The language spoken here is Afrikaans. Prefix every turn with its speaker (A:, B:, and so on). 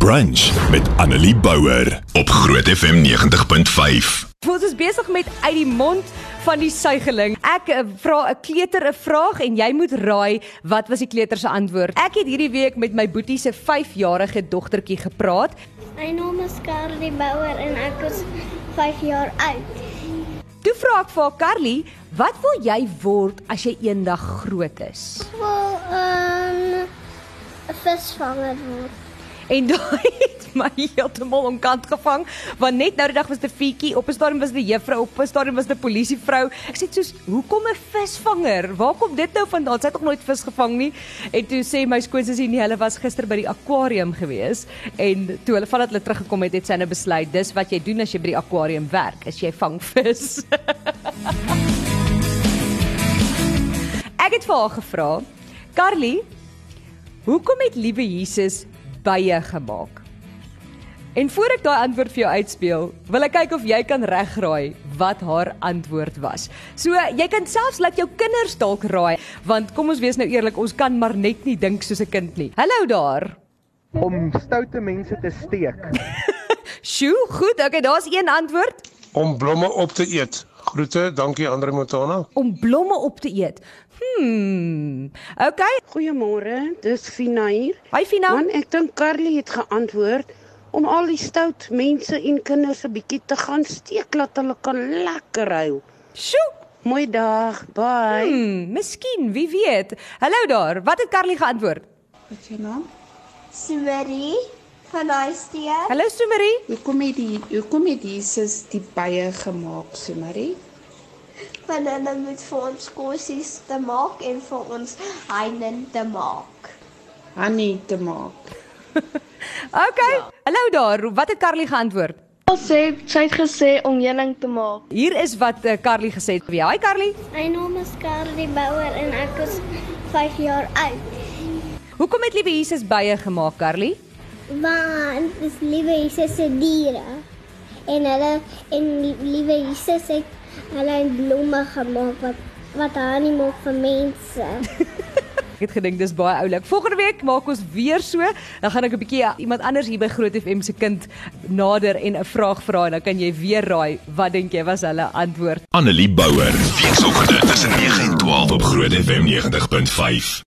A: Brunch met Annelie Bouwer op Groot FM 90.5.
B: Ons is besig met uit die mond van die suigeling. Ek eh, vra 'n kleuter 'n vraag en jy moet raai wat was die kleuter se antwoord. Ek het hierdie week met my boetie se 5-jarige dogtertjie gepraat.
C: My naam is Carly Bouwer en ek is 5 jaar oud.
B: Toe vra ek vir haar, "Carly, wat wil jy word as jy eendag groot is?"
C: Ek wil 'n visvanger word.
B: En daai het my heeltemal onkant gevang, want net nou die dag was dit 'n fietjie, op 'n stadium was dit 'n juffrou, op 'n stadium was dit 'n polisievrou. Ek sê soos, "Hoekom 'n visvanger? Waar kom dit nou vandaan? Sy het nog nooit vis gevang nie." En toe sê my skoonsussie, "Nee, hulle was gister by die aquarium gewees." En toe hulle vandat hulle teruggekom het, het sy nou besluit, "Dis wat jy doen as jy by die aquarium werk, is jy vang vis." Ek het vir haar gevra, "Carly, Hoekom het liewe Jesus bye gemaak? En voor ek daai antwoord vir jou uitspeel, wil ek kyk of jy kan regraai wat haar antwoord was. So jy kan selfs laat jou kinders dalk raai, want kom ons wees nou eerlik, ons kan maar net nie dink soos 'n kind nie. Hallo daar.
D: om stoute mense te steek.
B: Sjoe, goed. Okay, daar's een antwoord
E: om blomme op te eet. Groete, dankie Andre Montana.
B: om blomme op te eet. Hmm. Okay.
F: Goeiemôre, dis Fina hier.
B: Hi Fina.
F: Man, ek dink Carly het geantwoord om al die stout mense en kinders 'n bietjie te gaan steek laat hulle kan lekker huil.
B: Sjoe.
F: Mooi dag. Bye.
B: Hmm, miskien, wie weet. Hallo daar. Wat het Carly geantwoord?
G: Wat is jou naam?
C: Summerie van daai steek.
B: Hallo Sumerie.
G: Hoekom het die hoekom het Jesus die bye gemaak, Sumarie?
C: Want hulle moet vir ons kosies te maak en vir ons heining te maak.
G: Honey te maak.
B: Okay. Ja. Hallo daar. Wat het Carly geantwoord?
H: Sy sy het gesê om heuning te maak.
B: Hier is wat eh, Carly gesê het. Ja, hi Carly.
C: My naam is Carly Bouwer en ek is 5 jaar oud.
B: Hoekom het liewe Jesus bye gemaak, Carly?
C: Want dis liewe Jesus se diere. En hulle en liewe Jesus het hulle in blomme gemaak wat wat hy nie maak vir mense.
B: Ek het gedink dis baie oulik. Volgende week maak ons weer so. Dan gaan ek 'n bietjie eh, iemand anders hier by Groot FM se kind nader en 'n vraag vra en dan kan jy weer raai wat dink jy was hulle antwoord.
A: Annelie Bouwer, weekoggend tussen 9 en 12 op Groot FM 90.5.